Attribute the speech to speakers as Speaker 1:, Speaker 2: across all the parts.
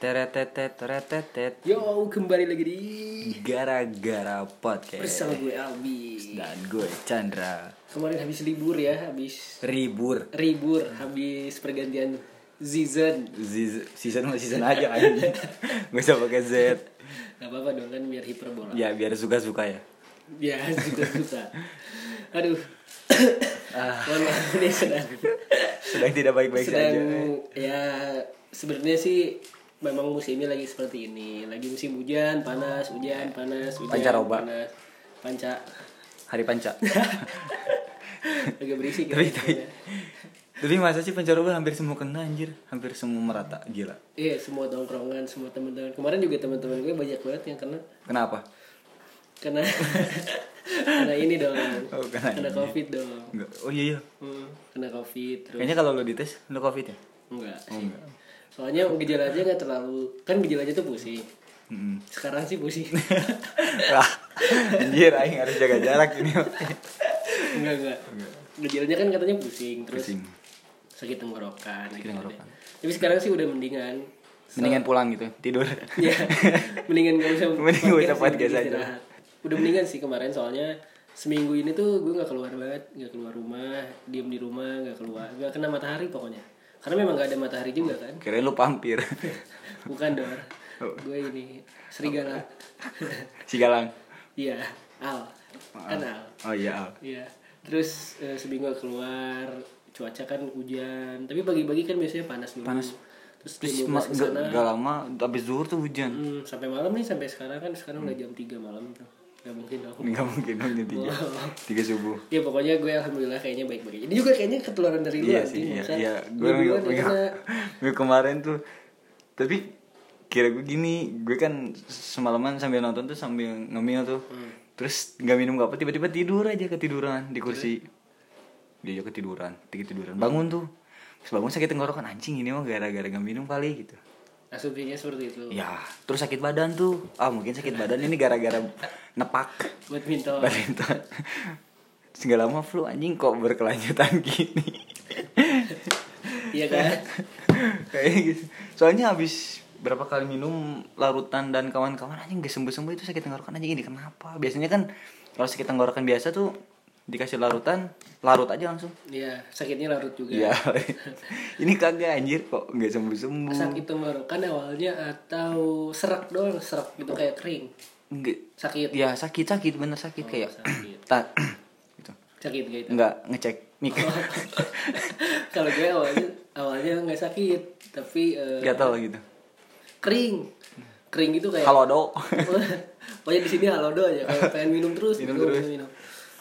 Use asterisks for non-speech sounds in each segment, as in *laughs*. Speaker 1: Teretetet, teretetet.
Speaker 2: Yo, kembali lagi di
Speaker 1: Gara-gara podcast.
Speaker 2: bersama gue Albi.
Speaker 1: Dan gue Chandra.
Speaker 2: Kemarin habis libur ya, habis
Speaker 1: Ribur.
Speaker 2: ribur, habis pergantian season.
Speaker 1: Ziz- Season sama season aja *laughs* anjing. Gak usah pakai Z.
Speaker 2: Gak apa-apa dong kan biar hiperbola.
Speaker 1: Ya biar suka-suka ya.
Speaker 2: Ya, *laughs* suka-suka. Aduh.
Speaker 1: Ah.
Speaker 2: Mohon maaf
Speaker 1: *laughs*
Speaker 2: nih sedang
Speaker 1: Sedang tidak baik-baik
Speaker 2: sedang
Speaker 1: saja.
Speaker 2: ya sebenarnya sih memang musimnya lagi seperti ini. Lagi musim hujan, panas, hujan, panas, hujan,
Speaker 1: Pancaroba.
Speaker 2: panas.
Speaker 1: *laughs*
Speaker 2: Panca.
Speaker 1: Hari *laughs* panca. Iya,
Speaker 2: Agak berisik ya.
Speaker 1: tapi, tapi, tapi masa sih pencaroba hampir semua kena anjir. Hampir semua merata. Gila.
Speaker 2: Iya semua tongkrongan semua teman-teman kemarin juga teman-teman gue banyak banget yang kena
Speaker 1: Kenapa?
Speaker 2: kena *laughs* kena ini dong
Speaker 1: Oh, kena ini.
Speaker 2: covid dong
Speaker 1: Enggak. Oh iya iya.
Speaker 2: Hmm, kena covid terus
Speaker 1: Kayaknya kalau lo dites lo covid ya?
Speaker 2: enggak sih soalnya gejalanya nggak terlalu kan gejalanya tuh pusing
Speaker 1: Mm-mm. *laughs*
Speaker 2: sekarang sih pusing
Speaker 1: Wah, anjir aing harus jaga jarak ini.
Speaker 2: enggak enggak gejalanya kan katanya pusing terus
Speaker 1: Pusing.
Speaker 2: sakit tenggorokan gitu
Speaker 1: tenggorokan.
Speaker 2: deh. tapi sekarang sih udah mendingan
Speaker 1: Mendingan pulang gitu, tidur.
Speaker 2: ya mendingan gak usah
Speaker 1: Mending gak usah podcast aja.
Speaker 2: istirahat. udah mendingan sih kemarin soalnya seminggu ini tuh gue nggak keluar banget nggak keluar rumah diem di rumah nggak keluar nggak kena matahari pokoknya karena memang nggak ada matahari juga kan
Speaker 1: Kirain lu pampir. *laughs*
Speaker 2: bukan dor gue ini serigala
Speaker 1: Si Galang.
Speaker 2: iya al kan al
Speaker 1: Oh iya, Al.
Speaker 2: iya terus eh, seminggu nggak keluar cuaca kan hujan tapi pagi-pagi kan biasanya panas dulu panas terus,
Speaker 1: Terus
Speaker 2: jam 12
Speaker 1: mas
Speaker 2: ke
Speaker 1: gak,
Speaker 2: sana.
Speaker 1: gak lama habis zuhur tuh hujan.
Speaker 2: Hmm, sampai malam nih sampai sekarang kan sekarang udah jam 3 malam tuh. Gak mungkin dong.
Speaker 1: Enggak mungkin dong jam tiga. Tiga subuh.
Speaker 2: Ya pokoknya gue alhamdulillah kayaknya baik-baik. Ini juga kayaknya ketularan dari lu
Speaker 1: Iya
Speaker 2: anjing,
Speaker 1: sih, iya,
Speaker 2: masa?
Speaker 1: iya.
Speaker 2: Gue
Speaker 1: Gue minggu,
Speaker 2: duluan ya,
Speaker 1: minggu,
Speaker 2: kena.
Speaker 1: minggu kemarin tuh. Tapi kira gue gini, gue kan semalaman sambil nonton tuh sambil ngemil tuh. Terus nggak minum nggak apa, tiba-tiba tidur aja ketiduran di kursi. Dia aja ketiduran, ketiduran. Bangun tuh. Terus bangun sakit tenggorokan anjing ini mah gara-gara nggak minum kali gitu.
Speaker 2: Asumsinya seperti itu.
Speaker 1: Ya, terus sakit badan tuh. Ah, mungkin sakit badan ini gara-gara nepak *laughs*
Speaker 2: Buat minta
Speaker 1: badminton. Terus nggak lama flu anjing kok berkelanjutan gini.
Speaker 2: Iya kan?
Speaker 1: Kayak gitu. Soalnya habis berapa kali minum larutan dan kawan-kawan anjing gak sembuh-sembuh itu sakit tenggorokan anjing ini kenapa? Biasanya kan kalau sakit tenggorokan biasa tuh dikasih larutan, larut aja langsung.
Speaker 2: Iya, sakitnya larut juga.
Speaker 1: Iya. *laughs* ini kagak anjir kok nggak sembuh-sembuh.
Speaker 2: Sakit tenggorokan awalnya atau serak doang, serak gitu kayak kering.
Speaker 1: Nggak-
Speaker 2: Sakit.
Speaker 1: Ya sakit-sakit bener sakit kayak
Speaker 2: Oh, sakit.
Speaker 1: tak *clears throat* gitu.
Speaker 2: Sakit gak
Speaker 1: *laughs*
Speaker 2: itu?
Speaker 1: Nggak ngecek *laughs* mik.
Speaker 2: Kalau gue awalnya awalnya nggak sakit, tapi eh,
Speaker 1: Gatal gitu.
Speaker 2: kering. Kering itu kayak
Speaker 1: Halo dok.
Speaker 2: *laughs*
Speaker 1: *laughs*
Speaker 2: Pokoknya di sini halodo aja kalau pengen minum terus
Speaker 1: Minum
Speaker 2: minum,
Speaker 1: terus.
Speaker 2: minum, minum.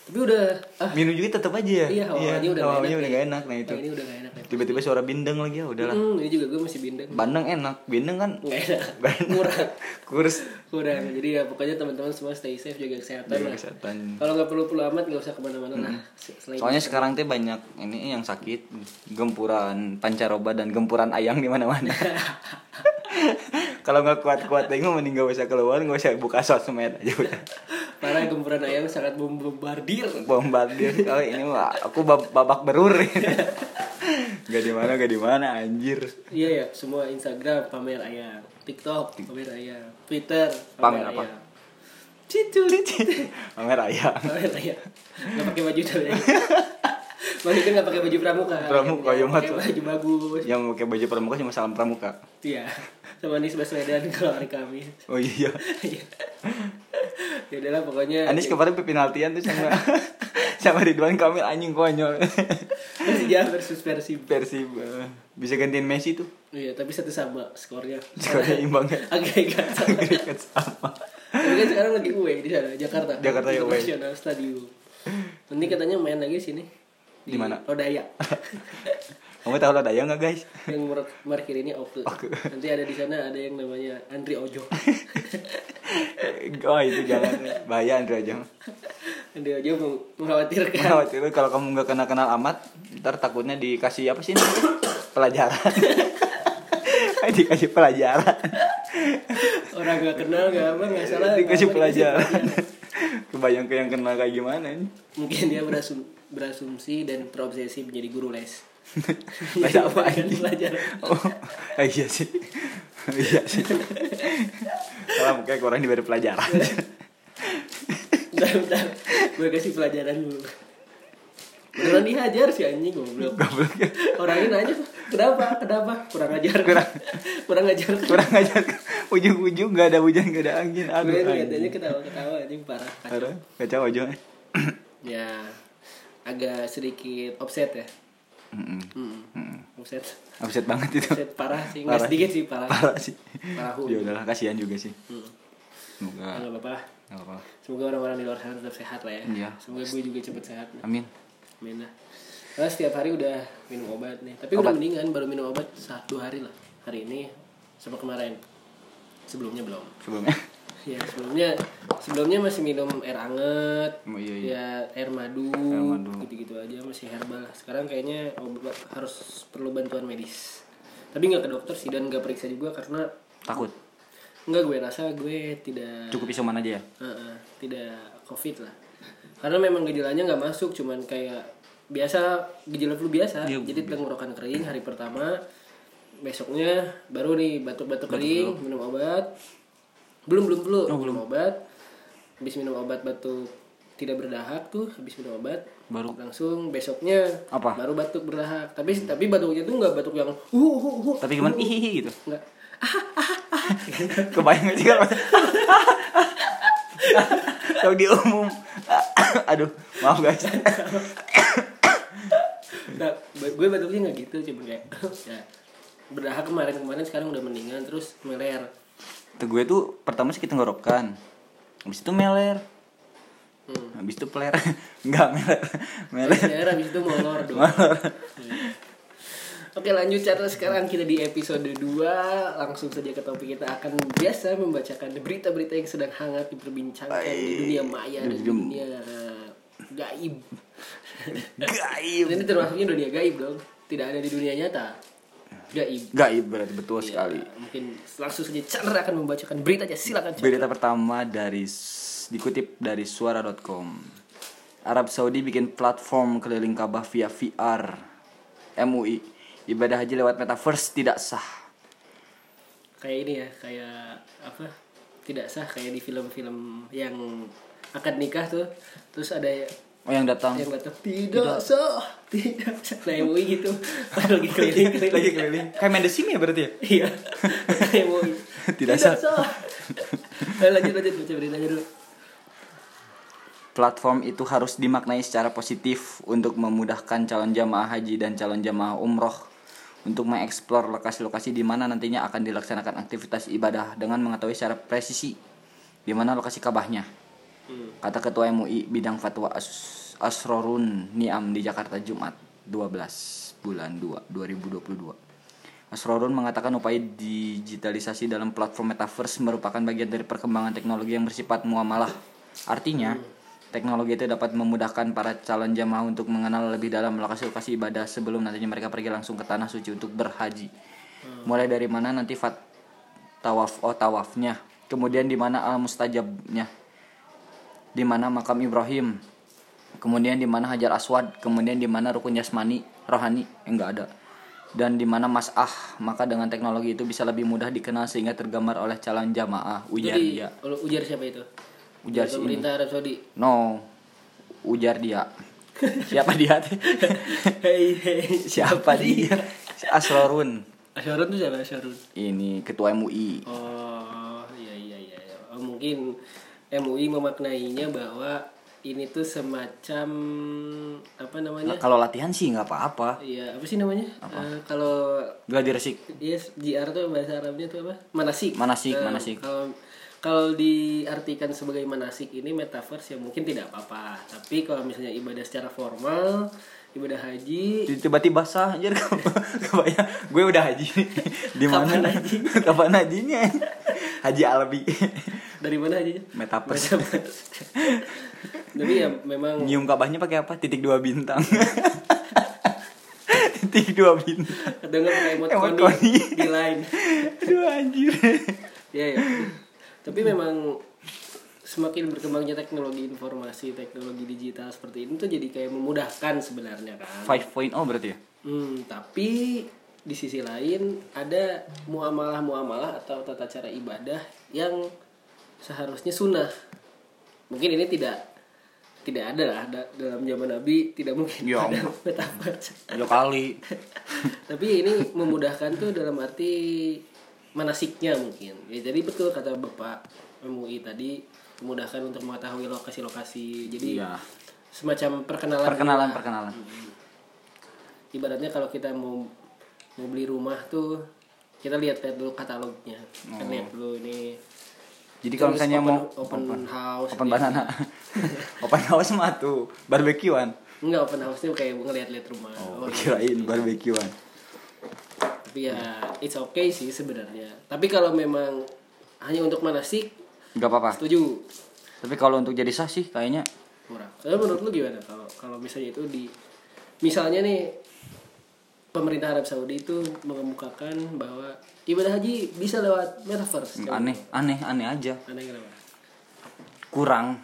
Speaker 2: Tapi udah ah
Speaker 1: Minum juga tetap aja ya.
Speaker 2: iya hawanya udah nggak
Speaker 1: hawanya udah
Speaker 2: ya.
Speaker 1: gak enak nah itu.
Speaker 2: Nah, ini udah gak enak. Ya.
Speaker 1: Tiba-tiba suara bindeng lagi ya udahlah.
Speaker 2: Hmm, ini juga gue masih bindeng.
Speaker 1: Bandeng enak, bindeng kan
Speaker 2: Gak enak.
Speaker 1: Bandeng.
Speaker 2: Murah. *laughs*
Speaker 1: Kurs
Speaker 2: Kurang. Jadi ya pokoknya teman-teman semua stay safe jaga Iya, kesehatan
Speaker 1: Jaga
Speaker 2: lah.
Speaker 1: Iya, kesehatan. Hmm.
Speaker 2: Kalau nggak perlu-perlu amat nggak usah kemana-mana lah. Se- Selain
Speaker 1: Soalnya sekarang teh banyak ini yang sakit gempuran pancaroba dan gempuran ayam di
Speaker 2: *laughs*
Speaker 1: mana-mana. *laughs* Kalau nggak kuat-kuat lagi mah mending gak usah keluar, gak usah buka sosmed aja udah.
Speaker 2: para gempuran ayam sangat membombardir.
Speaker 1: Bombardir kali ini mah aku bab- babak berur. gak di mana, gak di mana anjir.
Speaker 2: Iya ya, semua Instagram pamer ayam, TikTok pamer ayam, Twitter
Speaker 1: Pamer
Speaker 2: pamer,
Speaker 1: apa?
Speaker 2: ayam. Cicu,
Speaker 1: Pamer ayam.
Speaker 2: Kalian lah ya. Gak pakai baju dulu ya. Maksudnya gak pakai baju pramuka.
Speaker 1: Pramuka, iya,
Speaker 2: Pakai
Speaker 1: Mat.
Speaker 2: baju bagus.
Speaker 1: Yang pakai baju pramuka cuma salam pramuka.
Speaker 2: Iya. Sama Anies Baswedan kalau hari Kamis.
Speaker 1: Oh iya.
Speaker 2: Iya. ya udahlah pokoknya.
Speaker 1: Anies kemarin penaltian tuh sama sama Ridwan Kamil anjing konyol.
Speaker 2: Persija versus Persib.
Speaker 1: Persib eh, bisa gantiin Messi tuh.
Speaker 2: Iya, tapi satu sama skornya.
Speaker 1: Skornya
Speaker 2: *laughs*
Speaker 1: imbang ya.
Speaker 2: Agak-agak sama.
Speaker 1: Agregat sama.
Speaker 2: Tapi kan sekarang lagi away di sana, Jakarta.
Speaker 1: Jakarta ya, away.
Speaker 2: International Stadium. Nanti katanya main lagi sini.
Speaker 1: Di mana? *laughs*
Speaker 2: Rodaya.
Speaker 1: Kamu tahu lo daya nggak guys?
Speaker 2: yang mer- markir ini Oke.
Speaker 1: Oke.
Speaker 2: Nanti ada di sana ada yang namanya Andri
Speaker 1: *laughs*
Speaker 2: Ojo.
Speaker 1: Oh itu jangan bahaya Andra aja.
Speaker 2: Andri Ojo meng- mengkhawatirkan.
Speaker 1: Nah, waktu itu kalau kamu nggak kenal kenal amat, ntar takutnya dikasih apa sih? ini? *laughs* Pelajaran. dikasih pelajaran.
Speaker 2: Orang gak kenal gak apa nggak salah. nggak
Speaker 1: dikasih
Speaker 2: apa,
Speaker 1: pelajaran. Kebayang ke yang kenal kayak gimana nih?
Speaker 2: Mungkin dia berasum berasumsi dan terobsesi menjadi guru les.
Speaker 1: Iya, Bahasa apa
Speaker 2: Jadi, bukan pelajaran.
Speaker 1: Oh, iya sih. *laughs* Iya sih. Kalau kayak kurang diberi pelajaran.
Speaker 2: Bentar, bentar. Gue kasih pelajaran dulu. Beneran dihajar si anjing goblok.
Speaker 1: Goblok ya.
Speaker 2: Orangnya nanya, kenapa? Kenapa? Kurang ajar.
Speaker 1: Kurang-
Speaker 2: kurang ajar.
Speaker 1: *laughs* Kurang aja ujung-ujung gak ada hujan gak ada angin. Aduh.
Speaker 2: Gue
Speaker 1: anjing.
Speaker 2: kelihatannya ketawa-ketawa anjing parah. Kacau.
Speaker 1: Parah. Kacau aja.
Speaker 2: Ya, agak sedikit offset ya.
Speaker 1: Mm-mm.
Speaker 2: Hmm. Offset.
Speaker 1: Upset banget itu.
Speaker 2: Offset parah sih. Nggak
Speaker 1: Parah.
Speaker 2: sedikit sih parah.
Speaker 1: Parah sih.
Speaker 2: Parah. hu.
Speaker 1: Ya udahlah kasihan juga sih.
Speaker 2: Hmm. Ya,
Speaker 1: Semoga
Speaker 2: nggak apa-apa lah.
Speaker 1: nggak apa-apa. lah.
Speaker 2: Semoga orang-orang di luar sana tetap sehat lah ya.
Speaker 1: Iya.
Speaker 2: Semoga gue juga cepet sehat.
Speaker 1: Amin.
Speaker 2: Amin lah. Karena setiap hari udah minum obat nih. Tapi udah mendingan baru minum obat satu hari lah. Hari ini sama kemarin. Sebelumnya belum.
Speaker 1: Sebelumnya.
Speaker 2: Ya sebelumnya sebelumnya masih minum air anget.
Speaker 1: *laughs* Oh, iya, iya.
Speaker 2: Ya air madu,
Speaker 1: Air madu.
Speaker 2: gitu-gitu aja masih herbal lah. Sekarang kayaknya obat harus perlu bantuan medis. Tapi nggak ke dokter sih dan nggak periksa juga karena
Speaker 1: Takut.
Speaker 2: nggak gue rasa gue tidak
Speaker 1: Cukup isoman aja ya.
Speaker 2: Heeh, tidak covid lah karena memang gejalanya nggak masuk cuman kayak biasa gejala flu biasa
Speaker 1: Iya,
Speaker 2: jadi tenggorokan kering hari pertama besoknya baru nih batuk-batuk kering minum obat belum
Speaker 1: Oh,
Speaker 2: belum flu minum obat habis minum obat batuk tidak berdahak tuh habis minum obat
Speaker 1: Baru.
Speaker 2: langsung besoknya
Speaker 1: Apa?
Speaker 2: baru batuk berdahak tapi tapi batuknya tuh nggak batuk yang uh, "Hu, hu, hu."
Speaker 1: Tapi gimana? Ih gitu.
Speaker 2: nggak
Speaker 1: Kebayang gak sih kalau *laughs* Kalau di umum *laughs* Aduh maaf guys
Speaker 2: Nah, ba- gue batuknya nggak gitu cuman kayak ya berdahak kemarin-kemarin sekarang udah mendingan terus meler
Speaker 1: Tuh gue tuh pertama sakit tenggorokan Habis itu meler
Speaker 2: Hmm.
Speaker 1: Habis itu peler *laughs* Enggak meler Meler
Speaker 2: meler habis itu molor dong Hmm. Oke lanjut cara sekarang kita di episode 2 Langsung saja ke topik kita akan biasa membacakan berita-berita yang sedang hangat diperbincangkan di dunia maya dan dunia gaib
Speaker 1: Gaib
Speaker 2: Ini termasuknya dunia gaib dong Tidak ada di dunia nyata Gaib
Speaker 1: Gaib berarti betul sekali
Speaker 2: Ya, Mungkin langsung saja Chandra akan membacakan beritanya silakan Chandra.
Speaker 1: Berita pertama dari s- Dikutip dari suara.com Arab Saudi bikin platform keliling Ka'bah via VR MUI Ibadah haji lewat metaverse tidak sah
Speaker 2: kayak ini ya kayak apa tidak sah kayak di film-film yang akad nikah tuh terus ada
Speaker 1: Oh yang datang
Speaker 2: yang datang tidak sah tidak sah nah MUI
Speaker 1: *laughs*
Speaker 2: gitu lagi keliling keliling
Speaker 1: lagi keliling kayak main The Sims ya berarti ya
Speaker 2: iya *laughs* MUI
Speaker 1: Tidak sah.
Speaker 2: *laughs* Ayo Eh, lanjut lanjut baca beritanya dulu
Speaker 1: platform itu harus dimaknai secara positif untuk memudahkan calon jamaah haji dan calon jamaah umroh untuk mengeksplor lokasi-lokasi di mana nantinya akan dilaksanakan aktivitas ibadah dengan mengetahui secara presisi di mana lokasi kabahnya. Kata Ketua MUI Bidang Fatwa As Asrorun Niam di Jakarta Jumat 12 bulan 2 2022. Asrorun mengatakan upaya digitalisasi dalam platform metaverse merupakan bagian dari perkembangan teknologi yang bersifat muamalah. Artinya, teknologi itu dapat memudahkan para calon jamaah untuk mengenal lebih dalam lokasi-lokasi ibadah sebelum nantinya mereka pergi langsung ke tanah suci untuk berhaji. Mulai dari mana nanti fat tawaf oh tawafnya, kemudian di mana al mustajabnya, di mana makam Ibrahim, kemudian di mana Hajar Aswad, kemudian di mana rukun jasmani, rohani, eh, enggak ada. Dan di mana Mas'ah, maka dengan teknologi itu bisa lebih mudah dikenal sehingga tergambar oleh calon jamaah. Ujar
Speaker 2: jadi
Speaker 1: dia.
Speaker 2: kalau ujar siapa itu
Speaker 1: Iya, Ujar si ini.
Speaker 2: pemerintah Arab
Speaker 1: *laughs*
Speaker 2: Saudi
Speaker 1: No. Ujar dia. Siapa dia? teh?
Speaker 2: hei hei
Speaker 1: Siapa dia? Si Asrorun.
Speaker 2: Asyarun tuh siapa Asyarun
Speaker 1: Ini ketua MUI.
Speaker 2: Oh iya iya iya. iya. Oh, mungkin MUI memaknainya bahwa ini tuh semacam apa namanya?
Speaker 1: Kalau latihan sih nggak apa-apa.
Speaker 2: Iya apa sih namanya? Eh, kalau
Speaker 1: Gladi resik.
Speaker 2: yes GR tuh bahasa Arabnya tuh apa? Manasik.
Speaker 1: Manasik,
Speaker 2: Eh,
Speaker 1: manasik.
Speaker 2: Kalau kalau diartikan sebagai manasik ini metaverse ya mungkin tidak apa-apa. Tapi kalau misalnya ibadah secara formal, ibadah haji,
Speaker 1: tiba-tiba sah anjir *laughs* kebayang gue udah *laughs* haji di
Speaker 2: Kapan
Speaker 1: mana
Speaker 2: haji?
Speaker 1: *laughs* kapan hajinya haji *laughs* albi
Speaker 2: dari mana hajinya?
Speaker 1: metaverse
Speaker 2: Metaverse. *laughs* Tapi ya memang
Speaker 1: nyium kabahnya pakai apa titik dua bintang *laughs* titik dua bintang
Speaker 2: atau enggak pakai emot
Speaker 1: Emot
Speaker 2: koni
Speaker 1: koni.
Speaker 2: di line
Speaker 1: aduh anjir
Speaker 2: ya ya tapi memang semakin berkembangnya teknologi informasi teknologi digital seperti ini tuh jadi kayak memudahkan sebenarnya kan
Speaker 1: five point oh berarti ya
Speaker 2: hmm, tapi di sisi lain ada muamalah-muamalah atau tata cara ibadah yang seharusnya sunnah. Mungkin ini tidak tidak ada lah da- dalam zaman Nabi tidak mungkin
Speaker 1: Ya
Speaker 2: ada *laughs* metaverse.
Speaker 1: Ya kali.
Speaker 2: Tapi ini memudahkan tuh dalam arti manasiknya mungkin. Ya, jadi betul kata Bapak MUI tadi memudahkan untuk mengetahui lokasi-lokasi. Jadi
Speaker 1: Iya.
Speaker 2: semacam perkenalan.
Speaker 1: Perkenalan, perkenalan.
Speaker 2: Ibaratnya kalau kita mau mau beli rumah tuh kita lihat-lihat dulu katalognya. Kan lihat dulu ini
Speaker 1: Oh. Jadi kalau
Speaker 2: Terus
Speaker 1: misalnya
Speaker 2: open-
Speaker 1: mau
Speaker 2: open house
Speaker 1: open
Speaker 2: gitu. *laughs*
Speaker 1: banana. open house mah tuh barbekyuan.
Speaker 2: enggak open house-nya kayak ngeliat-liat rumah.
Speaker 1: Oh,
Speaker 2: Oh,
Speaker 1: kirain barbekyuan.
Speaker 2: Tapi ya it's okay sih sebenarnya. Tapi kalau memang hanya untuk manasik
Speaker 1: Gak apa-apa.
Speaker 2: setuju
Speaker 1: Tapi kalau untuk jadi sah sih kayaknya
Speaker 2: kurang. Tapi menurut lu gimana kalau kalau misalnya itu di misalnya nih pemerintah Arab Saudi itu mengemukakan bahwa ibadah haji bisa lewat metaverse. Kalau-
Speaker 1: aneh, aneh, aneh aja.
Speaker 2: Aneh kenapa?
Speaker 1: Kurang.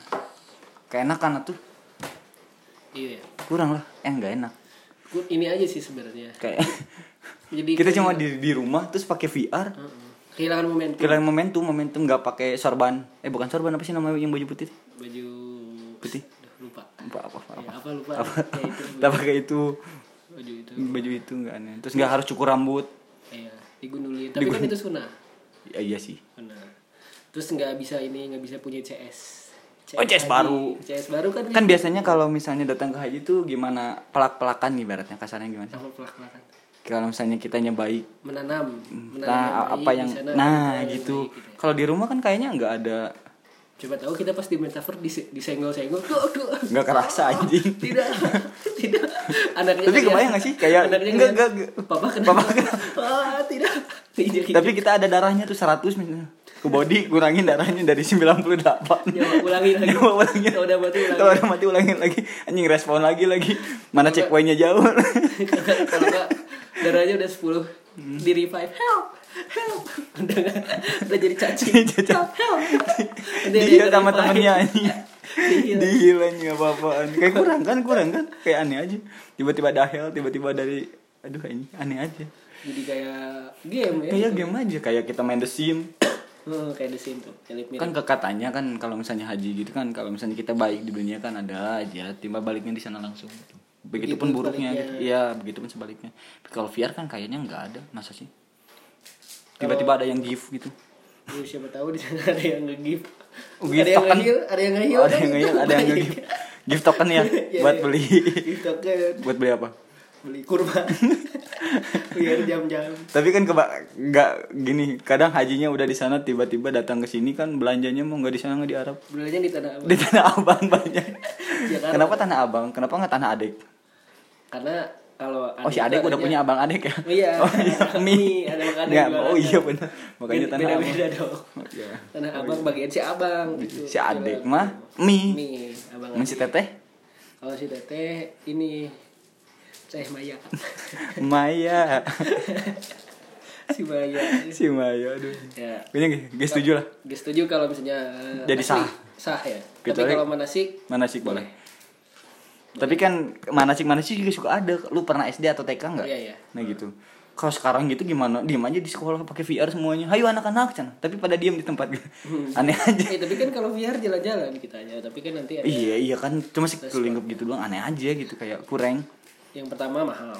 Speaker 1: Keenakan tuh.
Speaker 2: Iya. ya.
Speaker 1: Kurang lah. Eh nggak enak.
Speaker 2: Ku- Ini aja sih sebenarnya.
Speaker 1: Kayak *laughs*
Speaker 2: Jadi
Speaker 1: kita cuma di di rumah terus pakai VR.
Speaker 2: Heeh. kehilangan momentum
Speaker 1: Kirain momentum, momentum nggak pakai sorban. Eh bukan sorban apa sih namanya yang baju putih?
Speaker 2: baju
Speaker 1: Putih.
Speaker 2: Aduh, lupa.
Speaker 1: Apa apa apa.
Speaker 2: Ya, apa lupa? Ya, itu
Speaker 1: Nggak pakai itu
Speaker 2: baju itu.
Speaker 1: baju itu nggak aneh. Terus nggak harus cukur rambut.
Speaker 2: Iya, digundulin. Tapi kan itu sunnah.
Speaker 1: Ya, iya sih.
Speaker 2: Benar. Terus nggak bisa ini nggak bisa punya CS.
Speaker 1: Oh, CS baru.
Speaker 2: CS baru kan
Speaker 1: Kan biasanya kalau misalnya datang ke haji tuh gimana pelak-pelakan ibaratnya kasarnya gimana sih?
Speaker 2: sama pelak-pelakan.
Speaker 1: Kalau misalnya kitanya baik,
Speaker 2: Menanam, menanam
Speaker 1: nah apa yang
Speaker 2: baik, iya, di sana
Speaker 1: nah
Speaker 2: menanam yang
Speaker 1: gitu.
Speaker 2: baik, ya.
Speaker 1: Kalau di rumah kan kayaknya nggak ada
Speaker 2: Coba tahu kita pas di metaverse dise- disenggol-senggol. *laughs* Duh, duh.
Speaker 1: nggak kerasa anjing.
Speaker 2: *laughs* Tidak. Tidak. Anaknya
Speaker 1: Tapi
Speaker 2: ngeliat.
Speaker 1: kebayang nggak sih? Kayak-
Speaker 2: Anaknya
Speaker 1: enggak,
Speaker 2: ngeliat,
Speaker 1: enggak, enggak.
Speaker 2: Papa kenapa?
Speaker 1: Papa
Speaker 2: *laughs* Ah, tidak. Tidak.
Speaker 1: Tapi kita ada darahnya tuh 100 misalnya. Ke body kurangin darahnya dari 98.
Speaker 2: Ya, ulangi lagi.
Speaker 1: Nyawa ulangin.
Speaker 2: Kalau udah mati ulangi.
Speaker 1: Kalau udah mati ulangin lagi. Anjing respon lagi lagi. Mana
Speaker 2: Enggak.
Speaker 1: checkpointnya jauh.
Speaker 2: *laughs* kalau enggak darahnya udah
Speaker 1: Hmm.
Speaker 2: 10 di revive help help udah nggak- udah jadi cacing
Speaker 1: Jadi cacing.
Speaker 2: help help Udah
Speaker 1: Dia
Speaker 2: di-revive.
Speaker 1: sama temennya anjing.
Speaker 2: Dihil.
Speaker 1: Dihil anjing apa-apaan. Kayak kurang kan, kurang kan. Kayak aneh aja. Tiba-tiba ada hell, tiba-tiba dari aduh anjing, aneh aja.
Speaker 2: jadi kayak game ya
Speaker 1: Kayak game aja kayak kita main The Sims.
Speaker 2: oh, kayak di sini tuh mirip mirip
Speaker 1: Kan kekatanya kan kalau misalnya haji gitu kan kalau misalnya kita baik di dunia kan ada aja timbal baliknya di sana langsung. Begitupun
Speaker 2: Begitu
Speaker 1: buruknya
Speaker 2: baliknya.
Speaker 1: gitu. Iya, begitupun sebaliknya. Tapi kalau VR kan kayaknya nggak ada, masa sih? Tiba-tiba ada yang gift gitu.
Speaker 2: Lu Iya, siapa tahu di sana ada yang nge-give
Speaker 1: Oh,
Speaker 2: ada
Speaker 1: gift
Speaker 2: yang
Speaker 1: token.
Speaker 2: nge-heal ada yang nge-heal
Speaker 1: Oh,
Speaker 2: kan?
Speaker 1: ada yang nge-heal, ada yang
Speaker 2: *laughs*
Speaker 1: nge-gift. Gift token ya
Speaker 2: Iya,
Speaker 1: buat
Speaker 2: iya.
Speaker 1: beli *laughs*
Speaker 2: gift token
Speaker 1: buat beli apa?
Speaker 2: beli
Speaker 1: *laughs*
Speaker 2: kurma biar jam-jam
Speaker 1: Tapi kan keba nggak gini, kadang hajinya udah di sana tiba-tiba datang ke sini kan belanjanya mau nggak di sana nggak di Arab.
Speaker 2: belanja di tanah abang
Speaker 1: Di Tanah Abang banyak.
Speaker 2: Jakarta.
Speaker 1: Kenapa Tanah Abang? Kenapa nggak Tanah Adek?
Speaker 2: karena kalau
Speaker 1: Oh si
Speaker 2: itu
Speaker 1: Adek udah
Speaker 2: adanya-
Speaker 1: punya abang Adek ya?
Speaker 2: Oh iya.
Speaker 1: *laughs* Oh
Speaker 2: *laughs*
Speaker 1: iya,
Speaker 2: Mie,
Speaker 1: Mi.
Speaker 2: ada makanan
Speaker 1: Nggak,
Speaker 2: jualan. kan.
Speaker 1: oh iya benar. Makanya
Speaker 2: Beda-
Speaker 1: Tanah Abang.
Speaker 2: Beda-beda dong.
Speaker 1: Iya.
Speaker 2: Tanah Abang bagian si Abang gitu.
Speaker 1: Si Adek
Speaker 2: Jualan.
Speaker 1: mah Mi.
Speaker 2: Mie, Abang.
Speaker 1: Mi si
Speaker 2: Adek.
Speaker 1: Teteh?
Speaker 2: Kalau si Teteh ini Teh Maya. *laughs*
Speaker 1: Maya.
Speaker 2: si
Speaker 1: *laughs*
Speaker 2: Maya.
Speaker 1: Si Maya aduh.
Speaker 2: Ya.
Speaker 1: Kayaknya guys setuju lah.
Speaker 2: Gak setuju kalau misalnya eh,
Speaker 1: Jadi
Speaker 2: asli,
Speaker 1: sah.
Speaker 2: Sah ya.
Speaker 1: Kecuali-
Speaker 2: Tapi kalau manasik
Speaker 1: Manasik boleh.
Speaker 2: Iya.
Speaker 1: Tapi kan manasik manasik juga suka ada. Lu pernah SD atau TK nggak?
Speaker 2: Iya, iya.
Speaker 1: Nah gitu. Kalau sekarang gitu gimana? Diem aja di sekolah pakai VR semuanya. Hayo anak-anak Can. Tapi pada diem di tempat. Aneh aja.
Speaker 2: Eh, tapi kan kalau VR jalan-jalan kita aja, tapi kan nanti ada
Speaker 1: Iya iya kan cuma lingkup gitu doang aneh aja gitu kayak kurang.
Speaker 2: yang pertama mahal,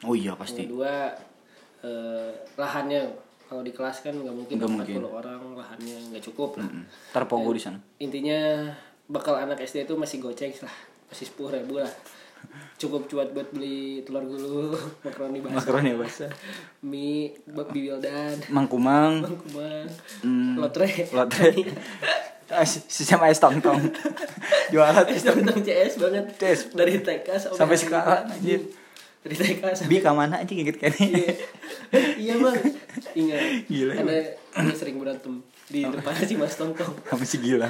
Speaker 1: Oh iya
Speaker 2: yang
Speaker 1: pasti.
Speaker 2: kedua eh, lahannya kalau di kelas kan nggak mungkin
Speaker 1: Nggak
Speaker 2: 40
Speaker 1: mungkin.
Speaker 2: orang lahannya nggak cukup lah.
Speaker 1: Terpogo di sana.
Speaker 2: intinya bakal anak SD itu masih goceng lah masih sepuluh ribu lah cukup cuat buat beli telur gulung *laughs* makaroni basah
Speaker 1: Makaroni basah.
Speaker 2: mie bab bibildan
Speaker 1: Mangkumang,
Speaker 2: kumang
Speaker 1: Hmm.
Speaker 2: lotre
Speaker 1: *laughs* lotre. Ah, si- Sistem es tong *laughs* tong. Juara es tong.
Speaker 2: tentang CS banget
Speaker 1: CS.
Speaker 2: dari TK sampai,
Speaker 1: Sampai sekarang, anjir.
Speaker 2: dari TK sampai
Speaker 1: Bi ka mana aja gitu kan? gigit *laughs* kayaknya.
Speaker 2: iya bang ingat
Speaker 1: Gila,
Speaker 2: karena dia sering berantem di depan si Mas Tongtong
Speaker 1: Kamu sih gila.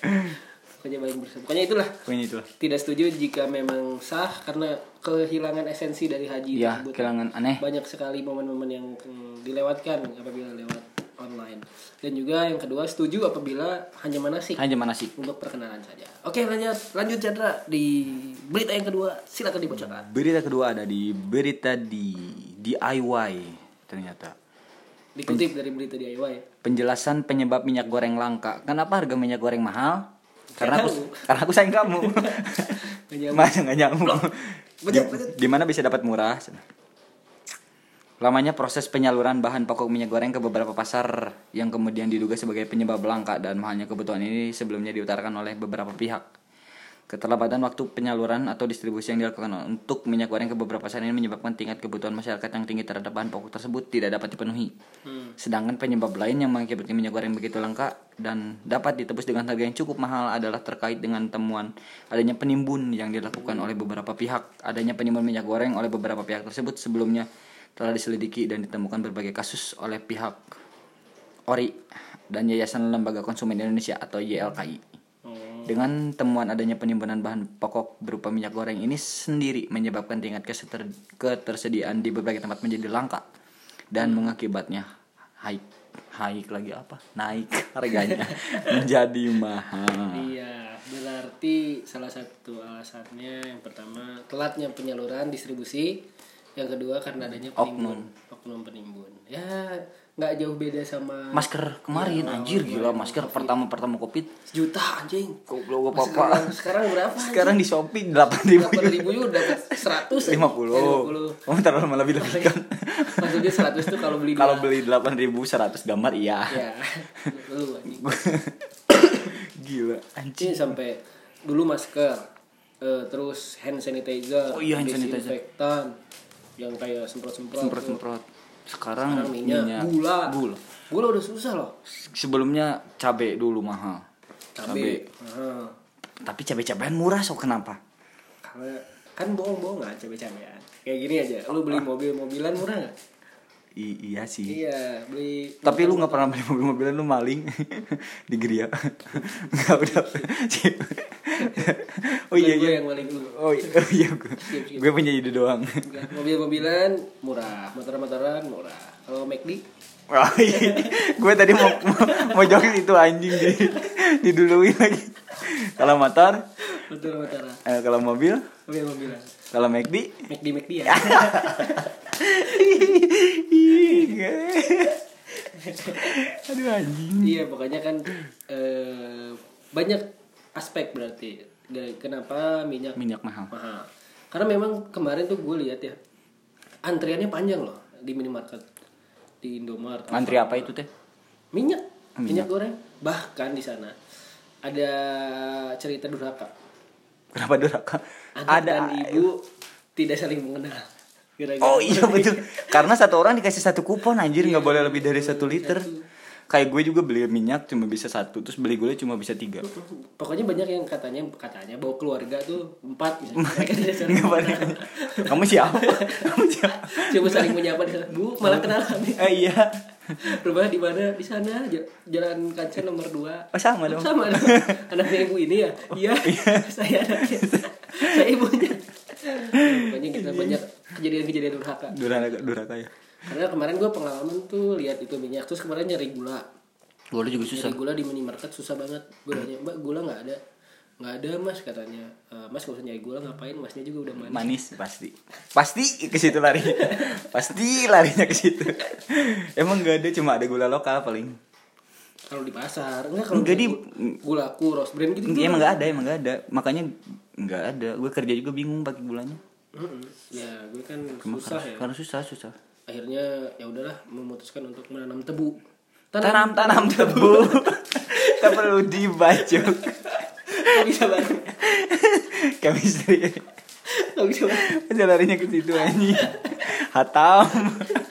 Speaker 2: pokoknya paling bersih pokoknya itulah
Speaker 1: Pokoknya itu lah.
Speaker 2: tidak setuju jika memang sah karena kehilangan esensi dari haji
Speaker 1: Iya,
Speaker 2: tersebut.
Speaker 1: kehilangan aneh.
Speaker 2: Banyak sekali momen-momen yang mm, dilewatkan apabila lewat online. Dan juga yang kedua setuju apabila hanya manasik
Speaker 1: Hanya manasik.
Speaker 2: untuk perkenalan saja. Oke, lanjut lanjut Chandra di berita yang kedua silakan dibacakan.
Speaker 1: Berita kedua ada di berita di DIY ternyata.
Speaker 2: Dikutip dari berita DIY.
Speaker 1: Penjelasan penyebab minyak goreng langka. Kenapa harga minyak goreng mahal? Karena aku *laughs* karena aku sayang
Speaker 2: *laughs*
Speaker 1: kamu.
Speaker 2: Gak nyambung.
Speaker 1: Masa nggak nyambung. Di,
Speaker 2: Betul, betul.
Speaker 1: di mana bisa dapat murah? Lamanya proses penyaluran bahan pokok minyak goreng ke beberapa pasar yang kemudian diduga sebagai penyebab langka dan mahalnya kebutuhan ini sebelumnya diutarakan oleh beberapa pihak. Keterlambatan waktu penyaluran atau distribusi yang dilakukan untuk minyak goreng ke beberapa pasar ini menyebabkan tingkat kebutuhan masyarakat yang tinggi terhadap bahan pokok tersebut tidak dapat dipenuhi. Sedangkan penyebab lain yang mengakibatkan minyak goreng begitu langka dan dapat ditebus dengan harga yang cukup mahal adalah terkait dengan temuan adanya penimbun yang dilakukan oleh beberapa pihak. Adanya penimbun minyak goreng oleh beberapa pihak tersebut sebelumnya telah diselidiki dan ditemukan berbagai kasus oleh pihak ORI dan Yayasan Lembaga Konsumen Indonesia atau YLKI. Dengan temuan adanya penimbunan bahan pokok berupa minyak goreng ini sendiri menyebabkan tingkat keseter- ketersediaan di berbagai tempat menjadi langka dan mengakibatnya haik haik lagi apa naik harganya *laughs* menjadi mahal.
Speaker 2: Iya, berarti salah satu alasannya yang pertama telatnya penyaluran distribusi, yang kedua karena adanya penimbun, oknum penimbun. Ya, nggak jauh beda sama
Speaker 1: Masker kemarin anjir gila masker pertama pertama covid
Speaker 2: sejuta anjing.
Speaker 1: ya, goblok
Speaker 2: Mas,
Speaker 1: apa
Speaker 2: Sekarang, sekarang berapa?
Speaker 1: sekarang di shopee delapan ribu
Speaker 2: Delapan ribu juga udah seratus. Ya,
Speaker 1: lima puluh oh ntar lama lebih lebih kan
Speaker 2: Maksudnya seratus tuh kalau beli
Speaker 1: kalau
Speaker 2: dua.
Speaker 1: beli delapan ribu seratus gambar iya
Speaker 2: Ya, lu anjing.
Speaker 1: Ya. *coughs* gila anjir
Speaker 2: Ini sampai dulu masker, eh, terus hand sanitizer,
Speaker 1: Oh iya, hand sanitizer.
Speaker 2: disinfektan, yang kayak semprot-semprot.
Speaker 1: semprot
Speaker 2: tuh.
Speaker 1: semprot sekarang,
Speaker 2: Sekarang minyak, gula.
Speaker 1: gula
Speaker 2: Gula udah susah loh.
Speaker 1: sebelumnya cabe dulu mahal
Speaker 2: Cabe. Heeh.
Speaker 1: tapi cabe cabean murah so kenapa
Speaker 2: Karena kan bohong-bohongan cabe-cabean. Kayak gini aja, lu beli
Speaker 1: Ah.
Speaker 2: mobil-mobilan murah nggak?
Speaker 1: I- iya sih
Speaker 2: Iya, beli
Speaker 1: tapi lu nggak pernah beli mobil-mobilan lu maling *laughs* di geria *laughs* nggak udah *laughs* Sip. oh iya
Speaker 2: Bukan gua
Speaker 1: iya
Speaker 2: yang paling dulu.
Speaker 1: oh iya, oh, iya. Gue-
Speaker 2: Skip, skip.
Speaker 1: gue punya ide doang *laughs*
Speaker 2: Bukan. Mobil-mobilan murah, motor-motoran murah. Kalau McD
Speaker 1: Wah, iya. gue tadi mau mau, mau joget itu anjing di diduluin lagi kalau motor
Speaker 2: motor-motoran,
Speaker 1: eh, kalau mobil
Speaker 2: mobil-mobilan.
Speaker 1: kalau McD
Speaker 2: McD McD
Speaker 1: *laughs*
Speaker 2: ya.
Speaker 1: Aduh anjing.
Speaker 2: Iya pokoknya kan eh, banyak aspek berarti dari kenapa minyak
Speaker 1: Minyak mahal.
Speaker 2: mahal. Karena memang kemarin tuh gue lihat ya antriannya panjang loh di minimarket di Indomaret.
Speaker 1: Antri apa ya? itu teh?
Speaker 2: Minyak, minyak goreng. Bahkan di sana ada cerita durhaka.
Speaker 1: Kenapa durhaka?
Speaker 2: Anak
Speaker 1: Ada.
Speaker 2: dan ibu tidak saling mengenal. Gara-gara
Speaker 1: Oh iya betul. Karena satu orang dikasih satu kupon anjir nggak boleh lebih dari satu liter. Kayak gue juga beli minyak cuma bisa satu, terus beli gula cuma bisa tiga.
Speaker 2: *laughs* Pokoknya banyak yang katanya katanya bawa keluarga tuh empat
Speaker 1: *laughs*
Speaker 2: misalnya. Mereka tidak saling
Speaker 1: Nggak boleh.
Speaker 2: mengenal.
Speaker 1: Kamu siapa? Kamu siapa?
Speaker 2: Coba saling menyapa di sana. Bu, malah kenalan.
Speaker 1: Eh, iya.
Speaker 2: Rumah di mana? Di sana, J- Jalan Kancil nomor 2.
Speaker 1: Oh, sama dong. Oh, *laughs*
Speaker 2: Sama dong. Anaknya ibu ini ya? Iya. *laughs* Saya anaknya. Saya ibunya. Ya, Pokoknya kita
Speaker 1: Iya.
Speaker 2: banyak kejadian-kejadian durhaka.
Speaker 1: Durhaka, durhaka ya.
Speaker 2: Karena kemarin gue pengalaman tuh lihat itu minyak terus kemarin nyari gula.
Speaker 1: Gula juga
Speaker 2: Nyari gula di minimarket susah banget. Gue nanya, "Mbak, gula nggak ada?" Nggak ada mas katanya "E, Mas gak usah nyari gula ngapain Masnya juga udah manis
Speaker 1: manis pasti pasti ke situ lari *laughs* pasti larinya ke situ emang gak ada cuma ada gula lokal paling
Speaker 2: Kalau di pasar Enggak kalau
Speaker 1: Enggak,
Speaker 2: di
Speaker 1: di-
Speaker 2: gula kuros brand gitu
Speaker 1: Iya, emang gak ada emang gak ada makanya nggak ada gue kerja juga bingung pakai gulanya
Speaker 2: Mm-mm. Ya gue kan
Speaker 1: Emang
Speaker 2: susah
Speaker 1: karena,
Speaker 2: ya.
Speaker 1: karena susah susah
Speaker 2: Akhirnya ya udahlah memutuskan untuk menanam tebu.
Speaker 1: tanam tanam tebu tak perlu dibacok
Speaker 2: *laughs*
Speaker 1: *laughs*
Speaker 2: Gak bisa banget.
Speaker 1: chemistry
Speaker 2: Gak bisa banget.
Speaker 1: aja larinya ke situ anjing hatam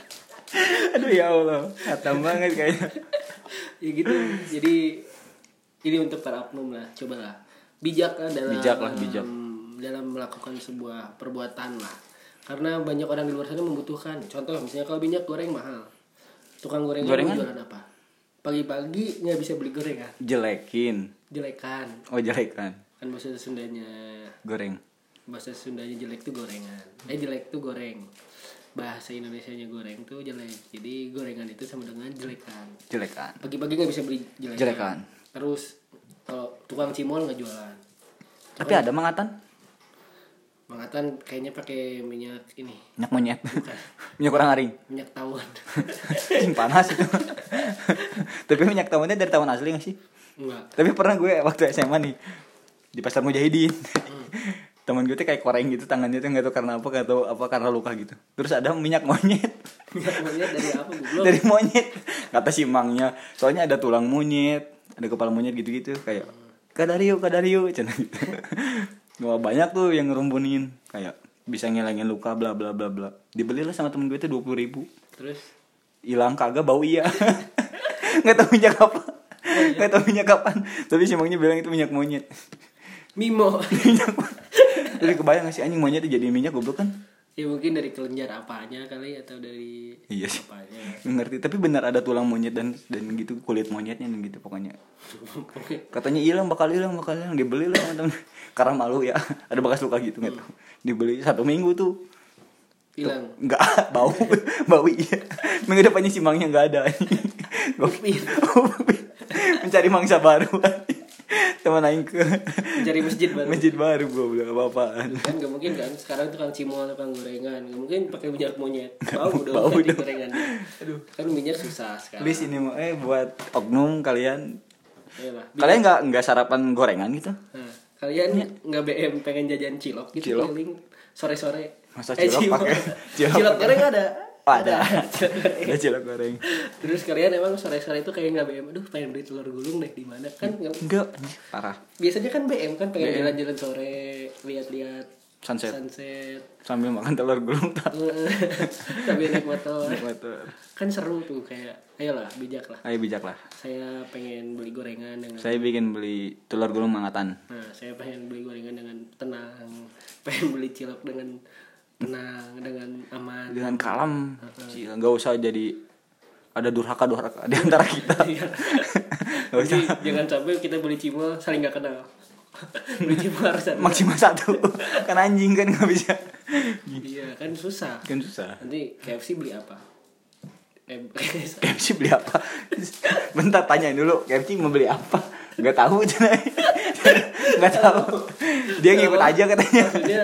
Speaker 1: *laughs* aduh ya allah hatam banget kayaknya
Speaker 2: Ya gitu. Jadi ini untuk para oknum lah. Cobalah bijak lah dalam
Speaker 1: Bijak lah, bijak.
Speaker 2: dalam melakukan sebuah perbuatan lah. Karena banyak orang di luar sana membutuhkan. Contoh misalnya kalau minyak goreng mahal. Tukang gorengan, mau
Speaker 1: Gorengan?
Speaker 2: jualan apa? Pagi-pagi nggak bisa beli gorengan.
Speaker 1: jelekin
Speaker 2: Jelekan.
Speaker 1: oh jelekan
Speaker 2: Kan bahasa Sundanya
Speaker 1: goreng
Speaker 2: bahasa Sundanya jelek tuh gorengan eh jelek tuh goreng bahasa Indonesianya goreng tuh jelek jadi gorengan itu sama dengan jelekan
Speaker 1: jelekan
Speaker 2: pagi-pagi nggak bisa beli jelekan,
Speaker 1: Jelekan.
Speaker 2: terus kalau tukang cimol nggak jualan
Speaker 1: tapi ada mangatan
Speaker 2: Bang Atan kayaknya pakai minyak ini,
Speaker 1: minyak monyet *laughs* minyak orang aring *laughs*
Speaker 2: minyak tawon.
Speaker 1: Anjing, panas itu *laughs* tapi minyak tawonnya dari tawon asli gak sih
Speaker 2: Enggak.
Speaker 1: tapi pernah gue waktu SMA nih di pasar Mujahidin *laughs* teman gue tuh kayak koreng gitu tangannya tuh nggak tahu karena apa nggak tahu apa karena luka gitu terus ada minyak monyet *laughs*
Speaker 2: Minyak monyet dari apa goblok?
Speaker 1: dari monyet kata si mangnya soalnya ada tulang monyet ada kepala monyet gitu-gitu kayak kadario kadario *laughs* cina gitu wah banyak tuh yang ngerumbunin kayak bisa ngilangin luka bla bla bla bla dibelilah sama temen gue tuh dua puluh ribu
Speaker 2: Terus
Speaker 1: hilang kagak bau iya *laughs* nggak tahu minyak apa nggak tahu minyak kapan tapi si mangnya bilang itu minyak monyet *laughs*
Speaker 2: Mimo.
Speaker 1: jadi kebayang nggak sih anjing monyet jadi minyak goblok kan
Speaker 2: ya mungkin dari kelenjar apanya kali atau dari
Speaker 1: iya sih
Speaker 2: apanya.
Speaker 1: ngerti tapi benar ada tulang monyet dan dan gitu kulit monyetnya dan gitu pokoknya
Speaker 2: Oke.
Speaker 1: katanya hilang bakal hilang bakal hilang dibeli lah teman *laughs* karena malu ya *laughs* ada bekas luka gitu nggak tahu dibeli satu minggu tuh
Speaker 2: Hilang.
Speaker 1: nggak *laughs* bau bau iya minggu depannya si mangnya nggak ada *laughs*
Speaker 2: Upin.
Speaker 1: mencari mangsa baru *laughs* teman aing ke *laughs*
Speaker 2: Cari masjid baru.
Speaker 1: masjid baru gue bilang apa apaan
Speaker 2: kan gak mungkin kan sekarang tukang cimol tukang gorengan gak mungkin pakai minyak monyet bau dong
Speaker 1: bau
Speaker 2: jadi
Speaker 1: dong.
Speaker 2: gorengan aduh kan minyak susah sekarang
Speaker 1: please ini mau eh buat oknum kalian
Speaker 2: Ayolah.
Speaker 1: kalian nggak nggak sarapan gorengan gitu
Speaker 2: Nah, kalian nggak BM pengen jajan cilok gitu
Speaker 1: Cilok.
Speaker 2: keliling sore-sore Eh,
Speaker 1: Masa cilok pakai-
Speaker 2: cilok,
Speaker 1: cilok
Speaker 2: cilok
Speaker 1: pakai- Oh,
Speaker 2: goreng ada
Speaker 1: ada
Speaker 2: Cilok goreng.
Speaker 1: *laughs* ada cilok goreng
Speaker 2: terus kalian emang sore-sore itu kayak nggak BM aduh pengen beli telur gulung deh di mana kan nggak-
Speaker 1: enggak parah
Speaker 2: biasanya kan BM kan pengen jalan-jalan sore lihat-lihat
Speaker 1: Sunset.
Speaker 2: sunset *laughs*
Speaker 1: sambil makan telur gulung tak
Speaker 2: sambil naik motor
Speaker 1: motor
Speaker 2: kan seru tuh kayak ayolah bijak lah
Speaker 1: ayo bijak lah
Speaker 2: saya pengen beli gorengan dengan
Speaker 1: saya bikin beli telur gulung mangatan
Speaker 2: nah saya pengen beli gorengan dengan tenang *laughs* pengen beli cilok dengan tenang dengan aman
Speaker 1: dengan kalem Ci, nggak usah jadi ada durhaka durhaka di antara *laughs* kita nggak usah
Speaker 2: jadi jangan sampai kita beli cimol saling nggak kenal *laughs* beli cimol harus ada
Speaker 1: maksimal satu kan anjing kan nggak bisa
Speaker 2: iya kan susah
Speaker 1: kan susah
Speaker 2: nanti KFC beli apa eh, *laughs*
Speaker 1: Iya. KFC beli apa bentar tanyain dulu KFC mau beli apa nggak tahu cenai nggak tahu dia ngikut aja katanya
Speaker 2: maksudnya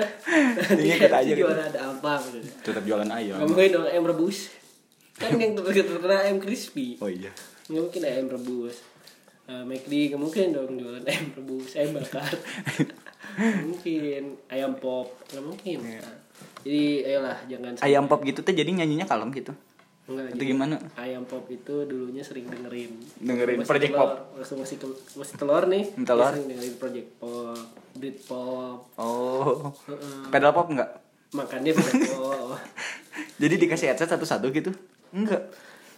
Speaker 2: nanti
Speaker 1: Dia ikut
Speaker 2: KFC
Speaker 1: aja gitu.
Speaker 2: jualan ada apa gitu.
Speaker 1: tetap jualan
Speaker 2: Gak
Speaker 1: ayam
Speaker 2: mungkin dong ayam rebus Kan yang terkenal ayam crispy
Speaker 1: oh iya
Speaker 2: Gak mungkin ayam rebus Eh, McD gak mungkin dong jualan *laughs* ayam rebus Ayam bakar Gak mungkin Ayam pop Gak mungkin Nah, Jadi ayolah jangan
Speaker 1: Iya. ayam pop gitu tuh jadi nyanyinya kalem gitu
Speaker 2: Enggak,
Speaker 1: itu
Speaker 2: jadi
Speaker 1: gimana
Speaker 2: Ayam pop itu dulunya sering dengerin
Speaker 1: Dengerin
Speaker 2: Masih
Speaker 1: Project Hmm,
Speaker 2: telur, Waktu masih, ke- masih telur nih dia
Speaker 1: Telur.
Speaker 2: Sering dengerin project pop Beat pop
Speaker 1: oh pedal pop nggak
Speaker 2: Makannya project pop *laughs*
Speaker 1: jadi dikasih headset satu-satu gitu enggak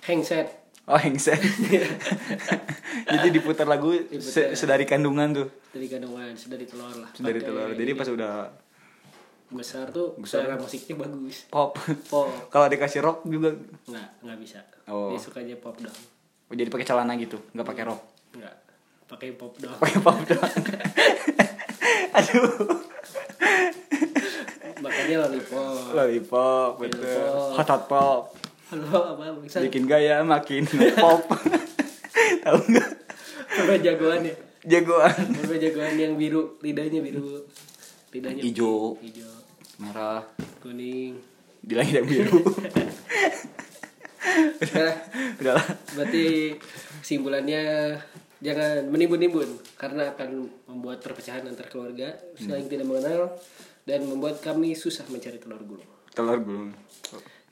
Speaker 2: Hangset
Speaker 1: Oh hengsen. *laughs* Jadi diputar lagu se- sedari kandungan tuh,
Speaker 2: dari kandungan, dari telur lah.
Speaker 1: sedari
Speaker 2: Pakai
Speaker 1: telur. Jadi pas udah
Speaker 2: besar tuh
Speaker 1: Besar. kan?
Speaker 2: selera musiknya bagus
Speaker 1: pop, *laughs*
Speaker 2: pop
Speaker 1: kalau dikasih rock juga
Speaker 2: nggak nggak bisa
Speaker 1: Oh.
Speaker 2: dia sukanya pop dong
Speaker 1: Oh, jadi pakai celana gitu, nggak pakai rock,
Speaker 2: nggak pakai pop dong
Speaker 1: *laughs* pakai pop doang. *laughs* Aduh,
Speaker 2: *laughs* makanya lollipop
Speaker 1: lollipop, betul. Hot hot pop,
Speaker 2: lo apa bisa
Speaker 1: bikin gaya makin pop. *laughs* Tahu nggak?
Speaker 2: apa jagoan ya
Speaker 1: Jagoan.
Speaker 2: apa jagoan yang biru lidahnya biru lidahnya
Speaker 1: Ijo.
Speaker 2: putih, hijau
Speaker 1: Merah,
Speaker 2: kuning
Speaker 1: di langit yang *laughs* biru.
Speaker 2: nah,
Speaker 1: Udahlah.
Speaker 2: berarti simbolannya jangan menimbun-nimbun karena akan membuat perpecahan antar keluarga saling
Speaker 1: Hmm.
Speaker 2: tidak mengenal dan membuat kami susah mencari telur gulung
Speaker 1: Telur gulung.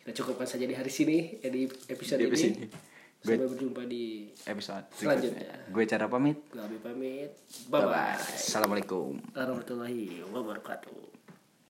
Speaker 2: kita cukupkan saja di hari sini eh, di episode,
Speaker 1: Di episode
Speaker 2: ini.
Speaker 1: ini.
Speaker 2: Sampai berjumpa di
Speaker 1: Episode
Speaker 2: Selanjutnya.
Speaker 1: selanjutnya. Gue cara pamit.
Speaker 2: Gue Abi pamit. Bye
Speaker 1: Bye
Speaker 2: bye.
Speaker 1: bye. Assalamualaikum.
Speaker 2: Warahmatullahi wabarakatuh.